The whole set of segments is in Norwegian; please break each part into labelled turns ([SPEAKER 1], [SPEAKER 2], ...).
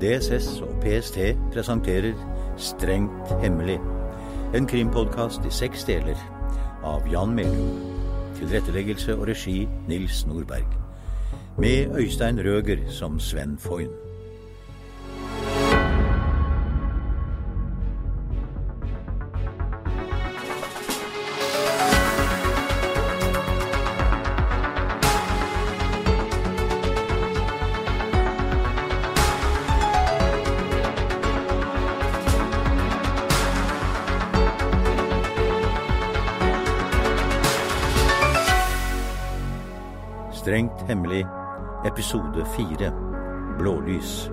[SPEAKER 1] DSS og PST presenterer Strengt hemmelig. En krimpodkast i seks deler av Jan Melum. Tilretteleggelse og regi Nils Nordberg. Med Øystein Røger som Sven Foyn. Strengt hemmelig, episode fire. Blålys.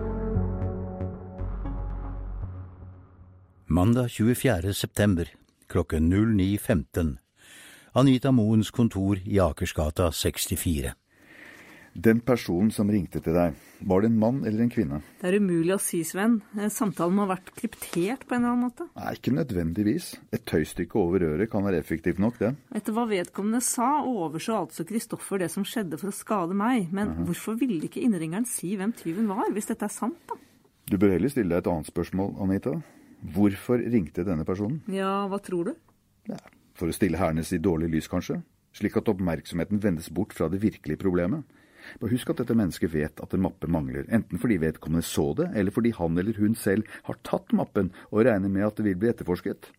[SPEAKER 1] Mandag 24. september klokken 09.15. Anita Moens kontor i Akersgata 64.
[SPEAKER 2] Den personen som ringte til deg, var det en mann eller en kvinne?
[SPEAKER 3] Det er umulig å si, Sven. Eh, Samtalen må ha vært kryptert på en eller annen måte.
[SPEAKER 2] Nei, ikke nødvendigvis. Et tøystykke over øret kan være effektivt nok, det.
[SPEAKER 3] Etter hva vedkommende sa, overså altså Kristoffer det som skjedde for å skade meg. Men hvorfor ville ikke innringeren si hvem tyven var, hvis dette er sant, da?
[SPEAKER 2] Du bør heller stille deg et annet spørsmål, Anita. Hvorfor ringte denne personen?
[SPEAKER 3] Ja, hva tror du?
[SPEAKER 2] Ja, For å stille Hernes i dårlig lys, kanskje? Slik at oppmerksomheten vendes bort fra det virkelige problemet. Bare husk at dette mennesket vet at en mappe mangler, enten fordi vedkommende så det, eller fordi han eller hun selv har tatt mappen og regner med at det vil bli etterforsket.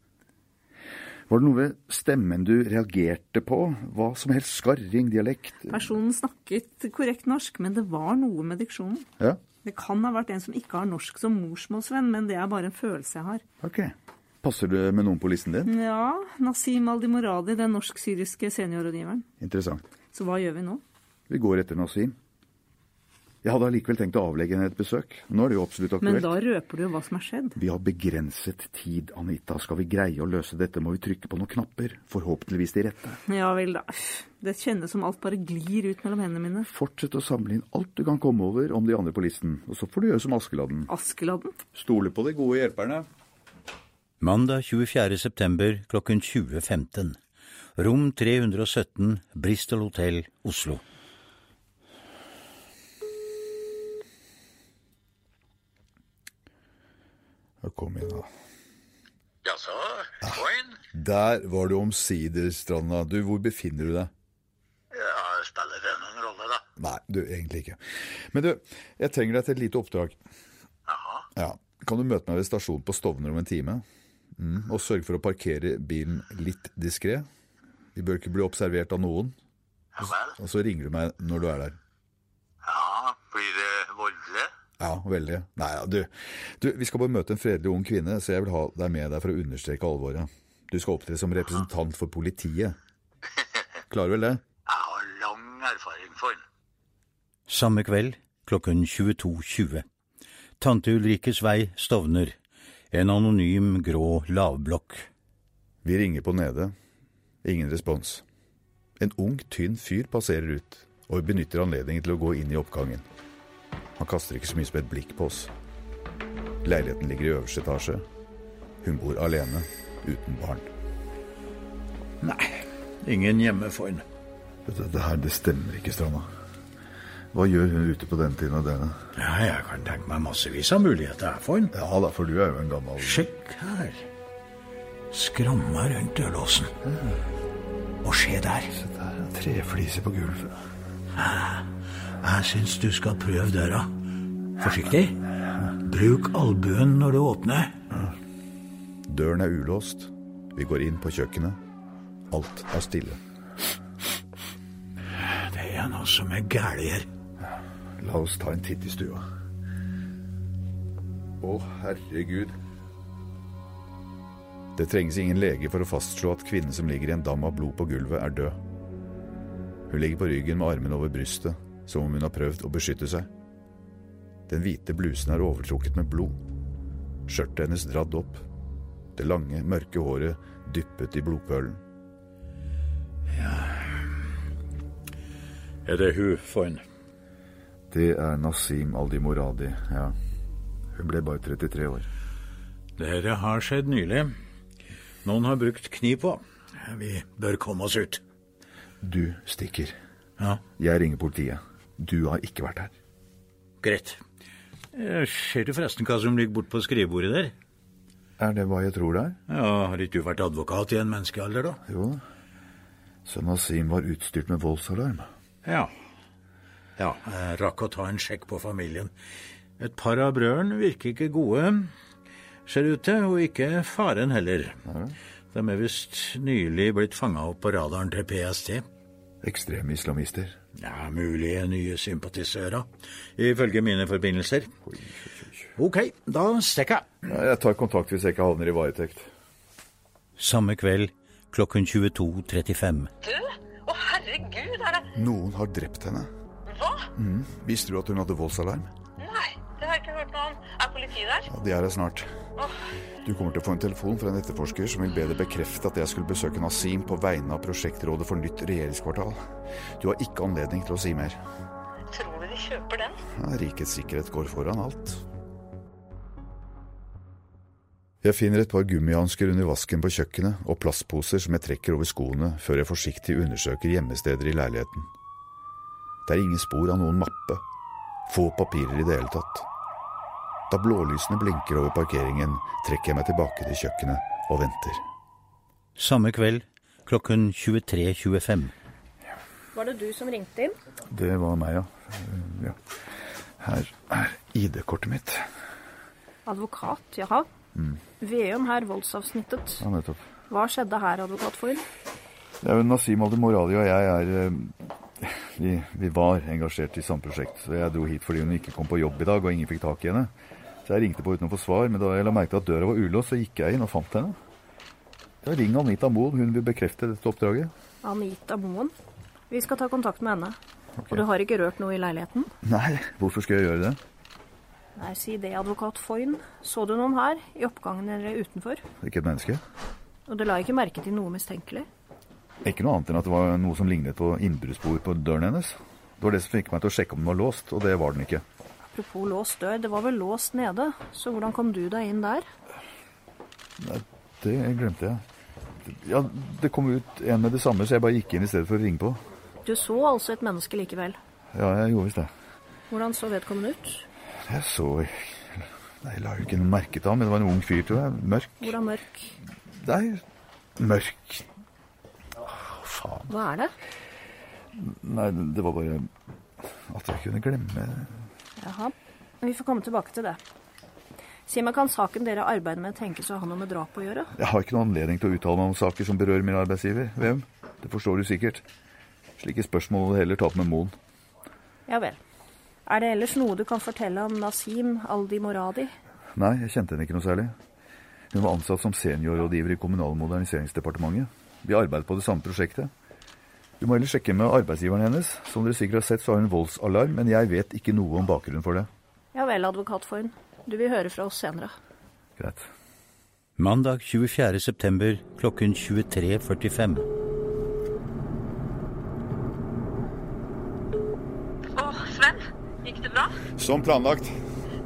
[SPEAKER 2] Var det noe ved stemmen du reagerte på? Hva som helst? Skarring, dialekt?
[SPEAKER 3] Personen snakket korrekt norsk, men det var noe med diksjonen.
[SPEAKER 2] Ja,
[SPEAKER 3] Det kan ha vært en som ikke har norsk som morsmål, Sven, men det er bare en følelse jeg har.
[SPEAKER 2] ok. Passer du med noen på listen din?
[SPEAKER 3] Ja, Nasim Aldimoradi, den norsk-syriske seniorrådgiveren.
[SPEAKER 2] Interessant.
[SPEAKER 3] Så hva gjør vi nå?
[SPEAKER 2] Vi går etter Nasim. Jeg hadde allikevel tenkt å avlegge henne et besøk. Nå er det jo absolutt
[SPEAKER 3] Men
[SPEAKER 2] aktuelt.
[SPEAKER 3] da røper du jo hva som er skjedd.
[SPEAKER 2] Vi har begrenset tid, Anita. Skal vi greie å løse dette, må vi trykke på noen knapper. Forhåpentligvis de rette.
[SPEAKER 3] Ja vel, da. Det kjennes som alt bare glir ut mellom hendene mine.
[SPEAKER 2] Fortsett å samle inn alt du kan komme over om de andre på listen. Og så får du gjøre som Askeladden.
[SPEAKER 3] Askeladden?
[SPEAKER 2] Stole på de gode hjelperne.
[SPEAKER 1] Mandag 24. september klokken 20.15. Rom 317, Bristol Hotel, Oslo.
[SPEAKER 4] Kom igjen, da.
[SPEAKER 5] Jaså, Coin?
[SPEAKER 4] Der var du omsider, Stranda. Du, hvor befinner du deg?
[SPEAKER 5] Ja, spiller det noen rolle, da?
[SPEAKER 4] Nei, du, egentlig ikke. Men du, jeg trenger deg til et lite oppdrag.
[SPEAKER 5] Jaha.
[SPEAKER 4] Ja, Kan du møte meg ved stasjonen på Stovner om en time? Mm, og sørg for å parkere bilen litt diskré. Vi bør ikke bli observert av noen.
[SPEAKER 5] Ja vel.
[SPEAKER 4] Og så ringer du meg når du er der.
[SPEAKER 5] Ja, blir det voldelig?
[SPEAKER 4] Ja, veldig. Nei, ja, du. du, vi skal bare møte en fredelig ung kvinne, så jeg vil ha deg med der for å understreke alvoret. Du skal opptre som representant for politiet. Klarer vel det?
[SPEAKER 5] Jeg har lang erfaring for den.
[SPEAKER 1] Samme kveld klokken 22.20. Tante Ulrikkes vei, Stovner. En anonym grå lavblokk.
[SPEAKER 4] Vi ringer på nede. Ingen respons. En ung, tynn fyr passerer ut og benytter anledningen til å gå inn i oppgangen. Han kaster ikke så mye som et blikk på oss. Leiligheten ligger i øverste etasje. Hun bor alene, uten barn.
[SPEAKER 1] Nei, ingen hjemme for henne.
[SPEAKER 4] Dette, her, det stemmer ikke, Stranda. Hva gjør hun ute på den tiden av døgnet?
[SPEAKER 1] Ja, jeg kan tenke meg massevis av muligheter her for henne.
[SPEAKER 4] Ja da, for du er jo en gammel
[SPEAKER 1] Sjekk her. Skramma rundt dørlåsen. Og se der.
[SPEAKER 4] Trefliser på gulvet.
[SPEAKER 1] Jeg syns du skal prøve døra. Forsiktig. Bruk albuen når du åpner.
[SPEAKER 4] Døren er ulåst. Vi går inn på kjøkkenet. Alt er stille.
[SPEAKER 1] Det er noe som er galt her.
[SPEAKER 4] La oss ta en titt i stua. Å, herregud. Det trengs ingen lege for å fastslå at kvinnen som ligger i en dam av blod på gulvet, er død. Hun ligger på ryggen med armene over brystet, som om hun har prøvd å beskytte seg. Den hvite blusen er overtrukket med blod. Skjørtet hennes dradd opp. Det lange, mørke håret dyppet i blodpølen.
[SPEAKER 1] Er det hun for en?
[SPEAKER 4] Det er Nasim Aldimoradi, ja. Hun ble bare 33 år.
[SPEAKER 1] Dette har skjedd nylig. Noen har brukt kniv på. Vi bør komme oss ut.
[SPEAKER 4] Du stikker.
[SPEAKER 1] Ja,
[SPEAKER 4] Jeg ringer politiet. Du har ikke vært her.
[SPEAKER 1] greit. Eh, Ser du forresten hva som ligger bort på skrivebordet der?
[SPEAKER 4] Er det hva jeg tror det er?
[SPEAKER 1] Ja, Har ikke du vært advokat i en menneskealder, da?
[SPEAKER 4] Jo da. Sønnen av Sim var utstyrt med voldsalarm.
[SPEAKER 1] Ja. Ja, jeg rakk å ta en sjekk på familien. Et par av brødrene virker ikke gode, ser det ut til, og ikke faren heller. De er visst nylig blitt fanga opp på radaren til PST.
[SPEAKER 4] Ekstreme islamister.
[SPEAKER 1] Ja, mulige nye sympatisører, ifølge mine forbindelser. Ok, da stikker jeg.
[SPEAKER 4] Ja, Jeg tar kontakt hvis jeg ikke havner i varetekt.
[SPEAKER 1] Samme kveld klokken 22.35.
[SPEAKER 6] Død? Å, herregud, er det
[SPEAKER 4] Noen har drept henne.
[SPEAKER 6] Hva?
[SPEAKER 4] Visste du at hun hadde voldsalarm?
[SPEAKER 6] Nei, det har jeg ikke hørt noe om. Er politiet der?
[SPEAKER 4] Ja, De er her snart. Du kommer til å få en telefon fra en etterforsker som vil be deg bekrefte at jeg skulle besøke Nasim på vegne av prosjektrådet for nytt regjeringskvartal. Du har ikke anledning til å si mer.
[SPEAKER 6] Tror du de kjøper den?
[SPEAKER 4] Ja, rikets sikkerhet går foran alt. Jeg finner et par gummihansker under vasken på kjøkkenet og plastposer som jeg trekker over skoene før jeg forsiktig undersøker gjemmesteder i leiligheten. Det er ingen spor av noen mappe. Få papirer i det hele tatt. Da blålysene blinker over parkeringen, trekker jeg meg tilbake til kjøkkenet og venter.
[SPEAKER 1] Samme kveld klokken 23.25.
[SPEAKER 7] Var det du som ringte inn?
[SPEAKER 4] Det var meg, ja. Her er ID-kortet mitt.
[SPEAKER 7] Advokat, jaha. Veum her, voldsavsnittet.
[SPEAKER 4] Ja, nettopp.
[SPEAKER 7] Hva skjedde her, advokat Foyn?
[SPEAKER 4] Ja, men Nasim Al-Moradi og jeg er eh, vi, vi var engasjert i samme prosjekt. Så jeg dro hit fordi hun ikke kom på jobb i dag, og ingen fikk tak i henne. Så jeg ringte på uten å få svar, men da jeg la merke til at døra var ulåst, så gikk jeg inn og fant henne. Da ring Anita Moen, hun vil bekrefte dette oppdraget.
[SPEAKER 7] Anita Moen. Vi skal ta kontakt med henne. Og du har ikke rørt noe i leiligheten?
[SPEAKER 4] Nei, hvorfor skulle jeg gjøre det?
[SPEAKER 7] Nei, si det, advokat Foyn. Så du noen her? I oppgangen eller utenfor?
[SPEAKER 4] Ikke et menneske.
[SPEAKER 7] Og du la ikke merke til noe mistenkelig?
[SPEAKER 4] Ikke noe annet enn at det var noe som lignet på innbruddsspor på døren hennes. Det var det som fikk meg til å sjekke om den var låst, og det var den ikke.
[SPEAKER 7] Apropos låst dør, det var vel låst nede, så hvordan kom du deg inn der?
[SPEAKER 4] Det glemte jeg. Ja, det kom ut en med det samme, så jeg bare gikk inn i stedet for å ringe på.
[SPEAKER 7] Du så altså et menneske likevel.
[SPEAKER 4] Ja, jeg gjorde visst det.
[SPEAKER 7] Hvordan så vedkommende ut?
[SPEAKER 4] Jeg så Nei, jeg la jo ikke noe merke til ham, men det var en ung fyr, tror jeg. Mørk.
[SPEAKER 7] Hvordan mørk?
[SPEAKER 4] Nei, mørk. Åh, faen.
[SPEAKER 7] Hva er det?
[SPEAKER 4] Nei, det var bare at jeg kunne glemme
[SPEAKER 7] Jaha. Vi får komme tilbake til det. Si meg, kan saken dere arbeider med tenkes å ha noe med drap å gjøre?
[SPEAKER 4] Jeg har ikke noen anledning til å uttale meg om saker som berører min arbeidsgiver, VM. Det forstår du sikkert. Slike spørsmål må du heller ta opp med Moen.
[SPEAKER 7] Ja vel. Er det ellers noe du kan fortelle om Nasim Aldi Moradi?
[SPEAKER 4] Nei, jeg kjente henne ikke noe særlig. Hun var ansatt som seniorrådgiver i Kommunal- og moderniseringsdepartementet. Vi arbeidet på det samme prosjektet. Du må heller sjekke med arbeidsgiveren hennes. Som dere sikkert har sett, så har hun voldsalarm, men jeg vet ikke noe om bakgrunnen for det.
[SPEAKER 7] Ja vel, advokat Foyn. Du vil høre fra oss senere.
[SPEAKER 4] Greit.
[SPEAKER 1] Mandag 24. september klokken 23.45.
[SPEAKER 6] Å, Sven, gikk det bra?
[SPEAKER 4] Som planlagt.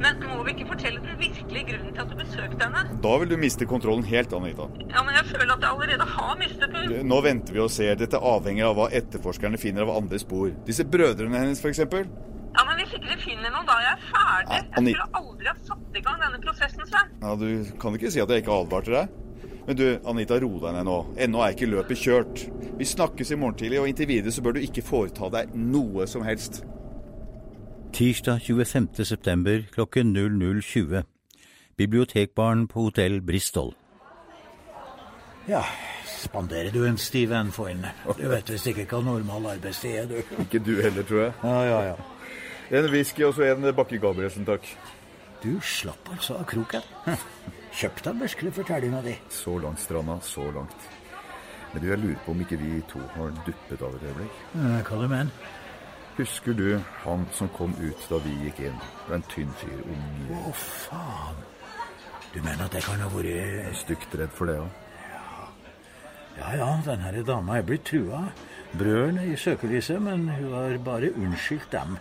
[SPEAKER 6] Men må vi ikke fortelle den virkelige grunnen til at du besøkte henne?
[SPEAKER 4] Da vil du miste kontrollen helt, Anita.
[SPEAKER 6] Ja, men jeg føler at jeg allerede har mistet den.
[SPEAKER 4] Nå venter vi og ser. Dette avhenger av hva etterforskerne finner av andre spor. Disse brødrene hennes, f.eks.
[SPEAKER 6] Ja, men hvis ikke de finner noen da jeg er ferdig.
[SPEAKER 4] Ja, Anni-
[SPEAKER 6] Jeg skulle aldri ha satt i gang denne prosessen, Sven.
[SPEAKER 4] Ja, du kan ikke si at jeg ikke advarte deg. Men du, Anita, ro deg ned nå. Ennå er ikke løpet kjørt. Vi snakkes i morgen tidlig, og inntil videre så bør du ikke foreta deg noe som helst.
[SPEAKER 1] Tirsdag 25. september klokken 00.20. Bibliotekbarn på hotell Bristol. Ja, spanderer du en stiv en for henne? Du vet visst ikke hva normal arbeidstid er, du.
[SPEAKER 4] Ikke du heller, tror jeg.
[SPEAKER 1] Ja, ja, ja.
[SPEAKER 4] En whisky og så en Bakke Gabrielsen, takk.
[SPEAKER 1] Du slapp altså av kroken. Kjøp deg merskelig fortellinga di.
[SPEAKER 4] Så langt stranda, så langt. Men du, jeg lurer på om ikke vi to har duppet av et øyeblikk.
[SPEAKER 1] Hva du mener
[SPEAKER 4] Husker du han som kom ut da vi gikk inn? Det er en tynn fyr, ung,
[SPEAKER 1] Å, faen. Du mener at jeg kan ha vært
[SPEAKER 4] stygt redd for det òg.
[SPEAKER 1] Ja ja, den her dama er blitt trua. Brødrene i søkelyset, men hun har bare unnskyldt dem.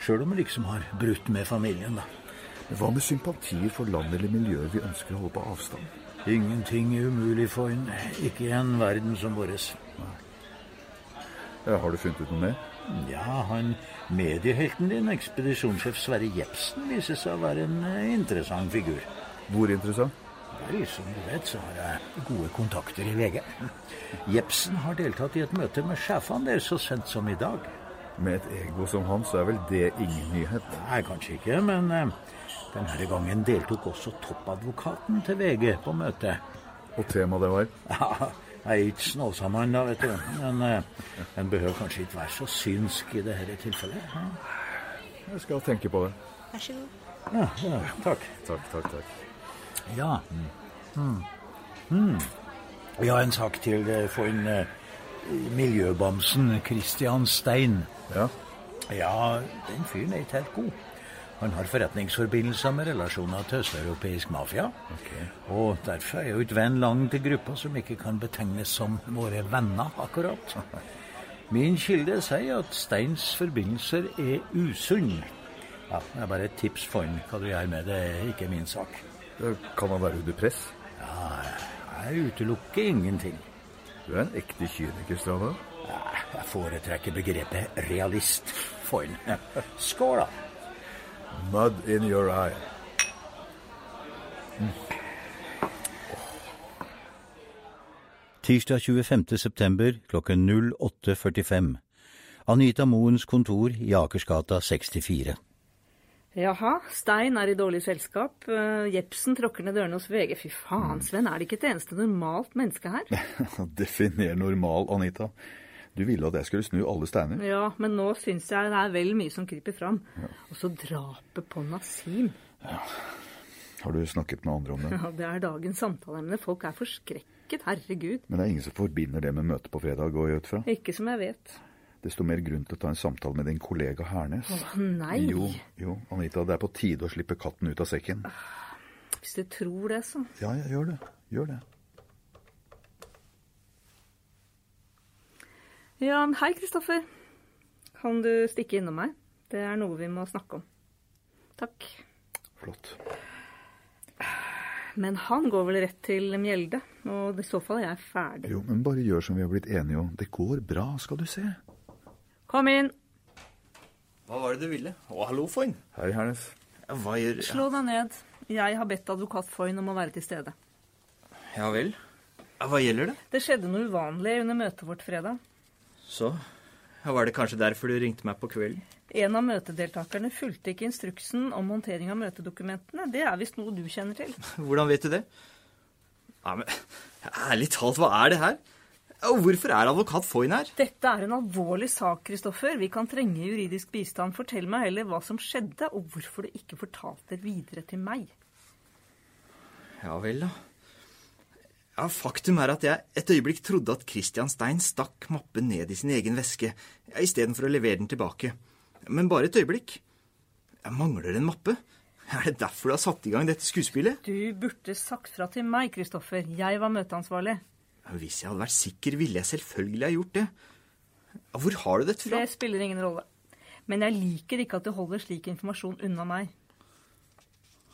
[SPEAKER 1] Sjøl om hun liksom har brutt med familien, da.
[SPEAKER 4] Men hva med sympatier for land eller miljøer vi ønsker å holde på avstand?
[SPEAKER 1] Ingenting er umulig for en, ikke i en verden som vår.
[SPEAKER 4] Ja, Har du funnet ut noe mer?
[SPEAKER 2] Ja, han mediehelten din, ekspedisjonssjef Sverre Jepsen, viser seg å være en eh, interessant figur.
[SPEAKER 4] Hvor interessant?
[SPEAKER 2] Vel, som du vet, så har jeg gode kontakter i VG. Jepsen har deltatt i et møte med sjefene der så sent som i dag.
[SPEAKER 4] Med et ego som hans er vel det ingen nyhet.
[SPEAKER 2] Nei, kanskje ikke, men eh, denne gangen deltok også toppadvokaten til VG på møtet.
[SPEAKER 4] Og temaet det var?
[SPEAKER 2] Ja, jeg er ikke Snåsamann, da, vet du. Men eh, en behøver kanskje ikke være så synsk i dette tilfellet. ja.
[SPEAKER 4] Jeg skal tenke på det.
[SPEAKER 2] Ja, ja, takk.
[SPEAKER 4] Takk, takk, takk.
[SPEAKER 2] Ja. Mm. Mm. Ja, en sak til eh, for en eh, miljøbamsen, Christian Stein.
[SPEAKER 4] Ja,
[SPEAKER 2] Ja, den fyren er ikke helt god. Han har forretningsforbindelser med relasjoner til østeuropeisk mafia. Og derfor er jo ikke venn lang til gruppa som ikke kan betegnes som våre venner, akkurat. Min kilde sier at Steins forbindelser er usunn. Ja, det er bare et tips for han. Hva du gjør med det, er ikke min sak.
[SPEAKER 4] det Kan han være under press?
[SPEAKER 2] Jeg utelukker ingenting.
[SPEAKER 4] Du er en ekte kyniker, Stranda.
[SPEAKER 2] Jeg foretrekker begrepet realist for han. Skål, da.
[SPEAKER 4] Mud in your eye.
[SPEAKER 2] Tirsdag 25. september klokken 08.45. Anita Moens kontor i Akersgata 64.
[SPEAKER 3] Jaha, Stein er i dårlig selskap. Eh, Jepsen tråkker ned dørene hos VG. Fy faen, Sven, er det ikke et eneste normalt menneske her?
[SPEAKER 4] Definer normal, Anita. Du ville at jeg skulle snu alle steiner.
[SPEAKER 3] Ja, men nå syns jeg det er vel mye som kryper fram. Og så drapet på Nasim.
[SPEAKER 4] Har du snakket med andre om det?
[SPEAKER 3] Ja, det er dagens samtaleemne. Folk er forskrekket, herregud.
[SPEAKER 4] Men det er ingen som forbinder det med møtet på fredag, går jeg ut fra.
[SPEAKER 3] Ikke som jeg vet.
[SPEAKER 4] Desto mer grunn til å ta en samtale med din kollega Hernes.
[SPEAKER 3] Å nei!
[SPEAKER 4] Jo, jo, Anita, det er på tide å slippe katten ut av sekken.
[SPEAKER 3] Hvis du tror det, så.
[SPEAKER 4] Ja, ja, gjør det. Gjør det.
[SPEAKER 3] Ja, hei, Kristoffer. Kan du stikke innom meg? Det er noe vi må snakke om. Takk.
[SPEAKER 4] Flott.
[SPEAKER 3] Men han går vel rett til Mjelde, og i så fall er jeg ferdig.
[SPEAKER 4] Jo, men bare gjør som vi har blitt enige om. Det går bra, skal du se.
[SPEAKER 3] Kom inn!
[SPEAKER 8] Hva var det du ville? Å, hallo, Foyn.
[SPEAKER 4] Hei, Hernes.
[SPEAKER 8] Hva gjør
[SPEAKER 3] Slå deg ned. Jeg har bedt advokat Foyn om å være til stede.
[SPEAKER 8] Ja vel? Ja, Hva gjelder det?
[SPEAKER 3] Det skjedde noe uvanlig under møtet vårt fredag.
[SPEAKER 8] Så? Ja, Var det kanskje derfor du ringte meg på kvelden?
[SPEAKER 3] En av møtedeltakerne fulgte ikke instruksen om håndtering av møtedokumentene. Det er visst noe du kjenner til.
[SPEAKER 8] Hvordan vet du det? Nei, men ærlig talt, hva er det her? Og hvorfor er advokat Foyn her?
[SPEAKER 3] Dette er en alvorlig sak, Kristoffer. Vi kan trenge juridisk bistand. Fortell meg heller hva som skjedde, og hvorfor du ikke fortalte det videre til meg.
[SPEAKER 8] Ja vel, da. Ja, Faktum er at jeg et øyeblikk trodde at Christian Stein stakk mappen ned i sin egen veske, ja, istedenfor å levere den tilbake. Men bare et øyeblikk. Jeg mangler en mappe. Er det derfor du har satt i gang dette skuespillet?
[SPEAKER 3] Du burde sagt fra til meg, Kristoffer. Jeg var møteansvarlig.
[SPEAKER 8] Ja, Hvis jeg hadde vært sikker, ville jeg selvfølgelig ha gjort det. Ja, Hvor har du dette fra?
[SPEAKER 3] Det spiller ingen rolle. Men jeg liker ikke at du holder slik informasjon unna meg.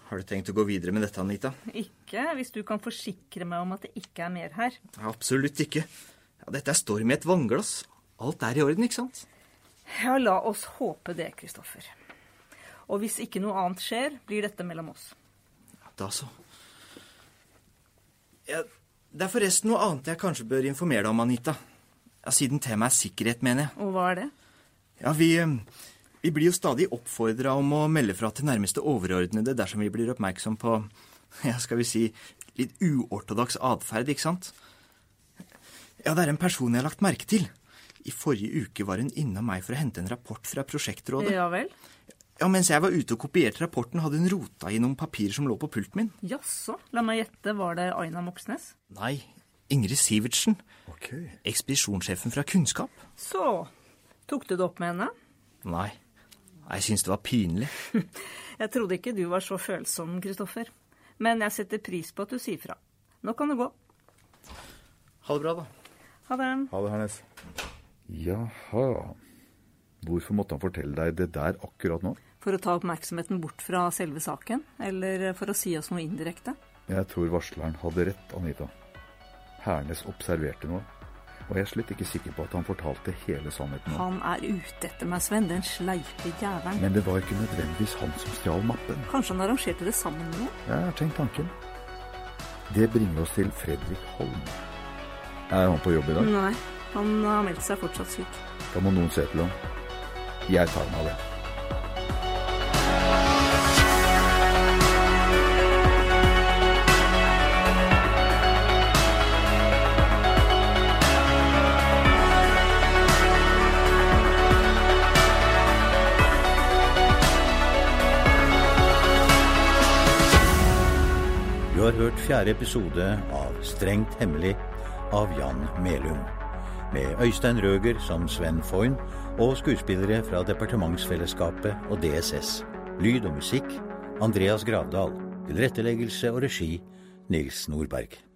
[SPEAKER 8] Har du tenkt å gå videre med dette, Anita?
[SPEAKER 3] Ikke hvis du kan forsikre meg om at det ikke er mer her.
[SPEAKER 8] Ja, Absolutt ikke. Ja, dette er storm i et vannglass. Alt er i orden, ikke sant?
[SPEAKER 3] Ja, la oss håpe det, Kristoffer. Og hvis ikke noe annet skjer, blir dette mellom oss.
[SPEAKER 8] Ja, Da så. Ja, det er forresten noe annet jeg kanskje bør informere deg om, Anita. Ja, siden temaet er sikkerhet, mener jeg.
[SPEAKER 3] Og hva er det?
[SPEAKER 8] Ja, vi, eh, vi blir jo stadig oppfordra om å melde fra til nærmeste overordnede dersom vi blir oppmerksom på, ja, skal vi si, litt uortodoks atferd, ikke sant? Ja, det er en person jeg har lagt merke til. I forrige uke var hun innom meg for å hente en rapport fra prosjektrådet.
[SPEAKER 3] Ja vel?
[SPEAKER 8] Ja, Mens jeg var ute og kopierte rapporten, hadde hun rota i noen papirer som lå på pulten min.
[SPEAKER 3] Jaså? La meg gjette, var det Aina Moxnes?
[SPEAKER 8] Nei, Ingrid Sivertsen.
[SPEAKER 4] Ok.
[SPEAKER 8] Ekspedisjonssjefen fra Kunnskap.
[SPEAKER 3] Så tok du det opp med henne?
[SPEAKER 8] Nei, jeg syns det var pinlig.
[SPEAKER 3] Jeg trodde ikke du var så følsom, Kristoffer. Men jeg setter pris på at du sier fra. Nå kan du gå.
[SPEAKER 8] Ha det bra, da.
[SPEAKER 3] Ha det.
[SPEAKER 4] Ha det, Hernes. Jaha. Hvorfor måtte han fortelle deg det der akkurat nå?
[SPEAKER 3] For å ta oppmerksomheten bort fra selve saken, eller for å si oss noe indirekte?
[SPEAKER 4] Jeg tror varsleren hadde rett, Anita. Hernes observerte noe.
[SPEAKER 2] og jeg er slett ikke sikker på at han fortalte hele sannheten. nå.
[SPEAKER 3] Han er ute etter meg, Sven. Den sleipe jævelen.
[SPEAKER 2] Men det var ikke nødvendigvis han som stjal mappen.
[SPEAKER 3] Kanskje han arrangerte det sammen med noen?
[SPEAKER 2] Jeg har tenkt tanken. Det bringer oss til Fredrik Holm. Er han på jobb i dag?
[SPEAKER 3] Nei. Han har meldt seg fortsatt syk.
[SPEAKER 2] Da må noen se til ham. Jeg tar meg av det.
[SPEAKER 1] Du har hørt fjerde episode av Strengt hemmelig av Jan Melum. Med Øystein Røger som Sven Foyn og skuespillere fra Departementsfellesskapet og DSS. Lyd og musikk Andreas Gravdal. Tilretteleggelse og regi Nils Nordberg.